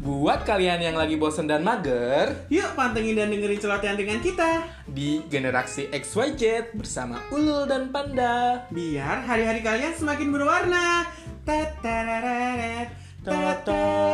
buat kalian yang lagi bosen dan mager Yuk pantengin dan dengerin celotehan dengan kita di generasi XYZ bersama Ulul dan Panda. Biar hari-hari kalian semakin berwarna Tatarararet, Tata.